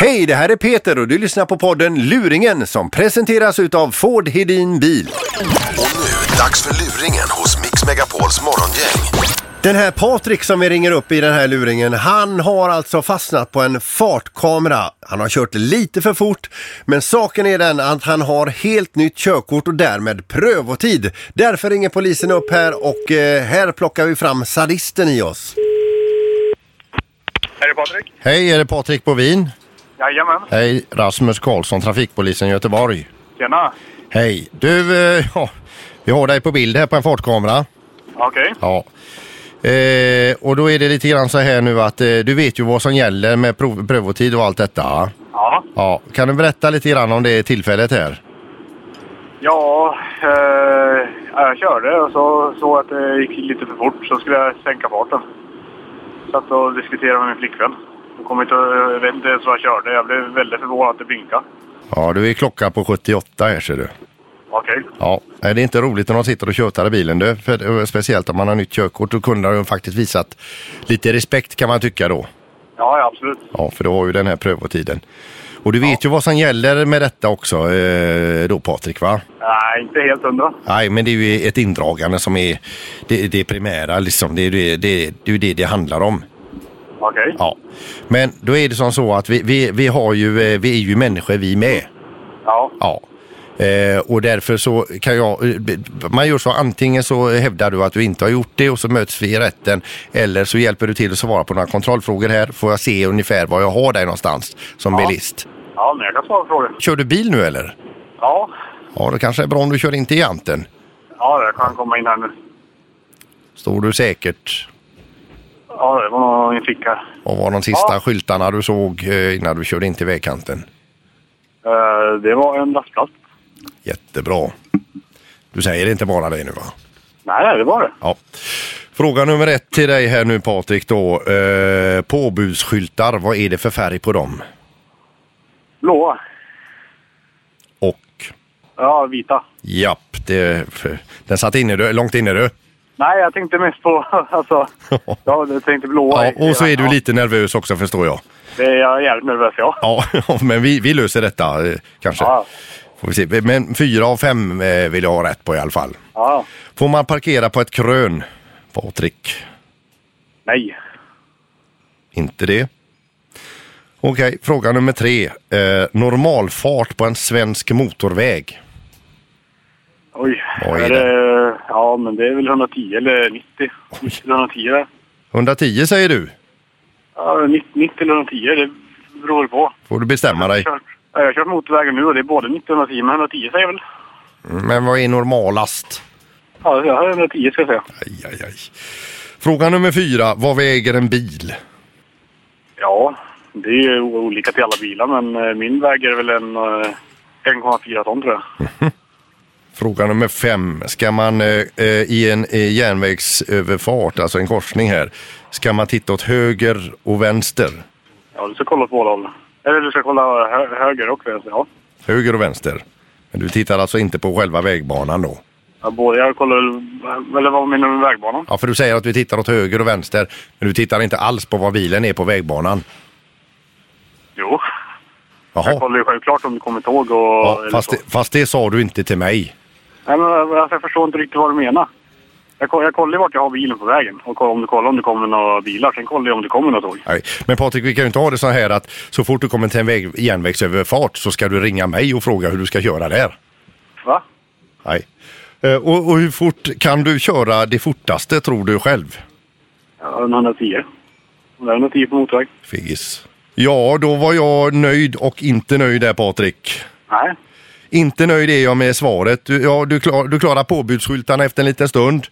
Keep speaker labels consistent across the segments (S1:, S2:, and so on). S1: Hej, det här är Peter och du lyssnar på podden Luringen som presenteras utav Ford Hedin Bil.
S2: Och nu, dags för luringen hos Mix Megapols morgongäng.
S1: Den här Patrik som vi ringer upp i den här luringen, han har alltså fastnat på en fartkamera. Han har kört lite för fort, men saken är den att han har helt nytt körkort och därmed prövotid. Därför ringer polisen upp här och eh, här plockar vi fram sadisten i oss.
S3: Är det Patrik?
S1: Hej, är det Patrik Bovin?
S3: Jajamän.
S1: Hej, Rasmus Karlsson, trafikpolisen Göteborg.
S3: Tjena.
S1: Hej, du, eh, ja, vi har dig på bild här på en fartkamera.
S3: Okej.
S1: Ja. Eh, och då är det lite grann så här nu att eh, du vet ju vad som gäller med prov- prövotid och allt detta.
S3: Ja.
S1: Ja. Kan du berätta lite grann om det tillfället här?
S3: Ja, eh, jag körde och så såg att det gick lite för fort så skulle jag sänka farten. Satt och diskuterade med min flickvän. Jag kom inte, jag vet inte ens vad jag körde. Jag blev väldigt förvånad att det blinkade.
S1: Ja, du är klocka på 78 här ser du.
S3: Okej.
S1: Ja, Nej, det är inte roligt när de sitter och tjötar i bilen. Du. För, eh, speciellt om man har nytt körkort. Då kunde de faktiskt visat lite respekt kan man tycka då.
S3: Ja, ja, absolut.
S1: Ja, för då har ju den här prövotiden. Och du vet ju vad som gäller med detta också eh, då Patrik va?
S3: Nej, inte helt hundra.
S1: Nej, men det är ju ett indragande som är det, det primära. Liksom. Det är ju det det, det, är ju det det handlar om.
S3: Okej.
S1: Ja. Men då är det som så att vi, vi, vi, har ju, eh, vi är ju människor vi med.
S3: Ja.
S1: Ja. Eh, och därför så kan jag... eh, Man gör så antingen så hävdar du att du inte har gjort det och så möts vi i rätten. Eller så hjälper du till att svara på några kontrollfrågor här. Får jag se ungefär var jag har dig någonstans som bilist.
S3: Ja, men jag kan svara på frågan.
S1: Kör du bil nu eller?
S3: Ja.
S1: Ja, det kanske är bra om du kör in till janten.
S3: Ja, jag kan komma in här nu.
S1: Står du säkert?
S3: Ja, det var nog min ficka.
S1: Vad var de sista
S3: Ja.
S1: skyltarna du såg eh, innan du körde in till vägkanten?
S3: Eh, det var en lastplats.
S1: Jättebra. Du säger inte bara det nu va?
S3: Nej, nej, det var det.
S1: Ja. Fråga nummer ett till dig här nu Patrik då. Eh, påbudsskyltar, vad är det för färg på dem?
S3: Blåa.
S1: Och
S3: Ja, vita.
S1: japp, det, för, den satt inne du, långt inne du.
S3: Nej, jag tänkte mest på... Alltså, ja, jag tänkte blåa.
S1: Ja, och så är du
S3: Ja,
S1: lite nervös också förstår jag.
S3: Det är jag jävligt nervös, ja.
S1: Ja, men vi, vi löser detta eh, kanske.
S3: Ja,
S1: Får vi se. Men fyra av fem eh, vill jag ha rätt på i alla fall.
S3: ja.
S1: Får man parkera på ett krön? Patrik?
S3: Nej.
S1: Inte det. Okej, fråga nummer tre. Eh, normalfart på en svensk motorväg.
S3: Oj.
S1: Vad är
S3: det? Ja, men det är väl 110 eller 90. 90 eller 110 där.
S1: 110 säger du.
S3: Ja, 90, 90 eller 110, det beror väl på.
S1: Får du bestämma dig.
S3: Kört- ja, Jag har kört motorvägen nu och det är både 90 och 110, men 110 säger jag väl.
S1: Men vad är normalast?
S3: Ja, jag har 110 ska jag säga.
S1: Aj, aj, aj. Fråga nummer fyra. Vad väger en bil?
S3: Ja, det är ju o- olika till alla bilar, men eh, min väger väl en eh, 1,4 ton tror jag.
S1: Fråga nummer fem. Ska man eh, eh, i en eh, järnvägsöverfart, alltså en korsning här, ska man titta åt höger och vänster?
S3: Ja, du ska kolla på båda hållen. Eller du ska kolla hö- höger och vänster, ja.
S1: Höger och vänster. Men du tittar alltså inte på själva vägbanan då?
S3: Ja, både jag kollar väl- eller vad menar du med vägbanan?
S1: Ja, för du säger att du tittar åt höger och vänster, men du tittar inte alls på var bilen är på vägbanan.
S3: Jo, jag
S1: Jaha,
S3: kollar ju självklart om du kommer inte ihåg och...
S1: ja,
S3: eller
S1: fast,
S3: så.
S1: det, fast det sa du inte till mig.
S3: Nej, men alltså, jag förstår inte riktigt vad du menar. Jag, ko- jag kollar ju vart jag har bilen på vägen och koll- om du kollar om det kommer några bilar. Sen kollar jag om det kommer några tåg.
S1: Nej. Men Patrik, vi kan ju inte ha det så här att så fort du kommer till en väg, järnvägsöverfart så ska du ringa mig och fråga hur du ska köra där.
S3: Va?
S1: Nej. Eh, Och, och hur fort kan du köra det fortaste tror du själv?
S3: Ja, en 110. Om Det är 110 på motorväg.
S1: Figgis. Ja, då var jag nöjd och inte nöjd där Patrik.
S3: Nej.
S1: Inte nöjd är jag med svaret. Du, ja, du, klar, du klarar påbudsskyltarna efter en liten stund.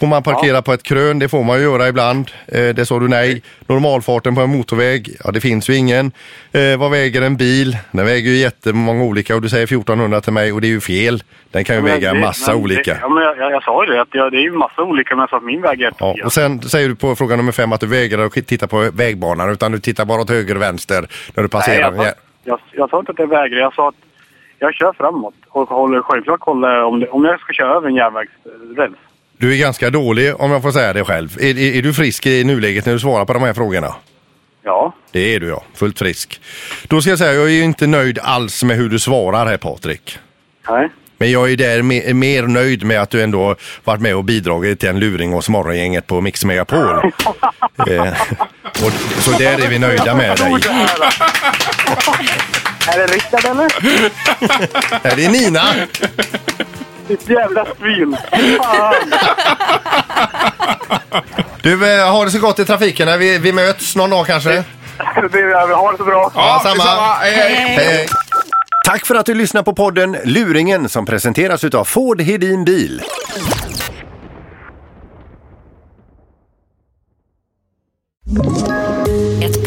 S1: Får man parkera på ett krön, det får man ju göra ibland. Eh, det sa du nej. Normalfarten på en motorväg, ja det finns ju ingen. Eh, vad väger en bil? Den väger ju jättemånga olika och du säger 1400 till mig och det är ju fel. Den kan ju väga en
S3: Men det-
S1: massa
S3: men det-
S1: olika.
S3: Ja, men jag, jag, jag sa ju det. Att jag, det är ju massa olika, men jag sa att min väg är 110.
S1: Ja, och sen säger du på fråga nummer fem att du vägrar att titta på vägbanan utan du tittar bara åt höger och vänster när du
S3: Nej,
S1: passerar.
S3: jag, sa, jag, jag sa inte att jag vägrar. Jag sa att jag kör framåt och håller självklart kolla om, det, om jag ska köra över en järnvägsräls.
S1: Du är ganska dålig om jag får säga det själv. Är, är, är du frisk i nuläget när du svarar på de här frågorna?
S3: Ja,
S1: Det är du ja, fullt frisk. Då ska jag säga, jag är ju inte nöjd alls med hur du svarar här Patrik.
S3: nej.
S1: Men jag är där me- mer nöjd med att du ändå har varit med och bidragit till en luring hos morgongänget på Mix Megapol. eh, och, så där är vi nöjda med dig.
S3: Är det Rickard eller?
S1: Nej, det är Nina!
S3: Ditt jävla svin!
S1: Du, eh, har det så gott i trafiken. när Vi, vi möts någon dag kanske.
S3: Det- Ha det så bra!
S1: Ja, samma.
S4: Hej, hej.
S1: Hej, hej. Tack för att du lyssnar på podden Luringen som presenteras utav Ford Hedin Bil.
S5: Ett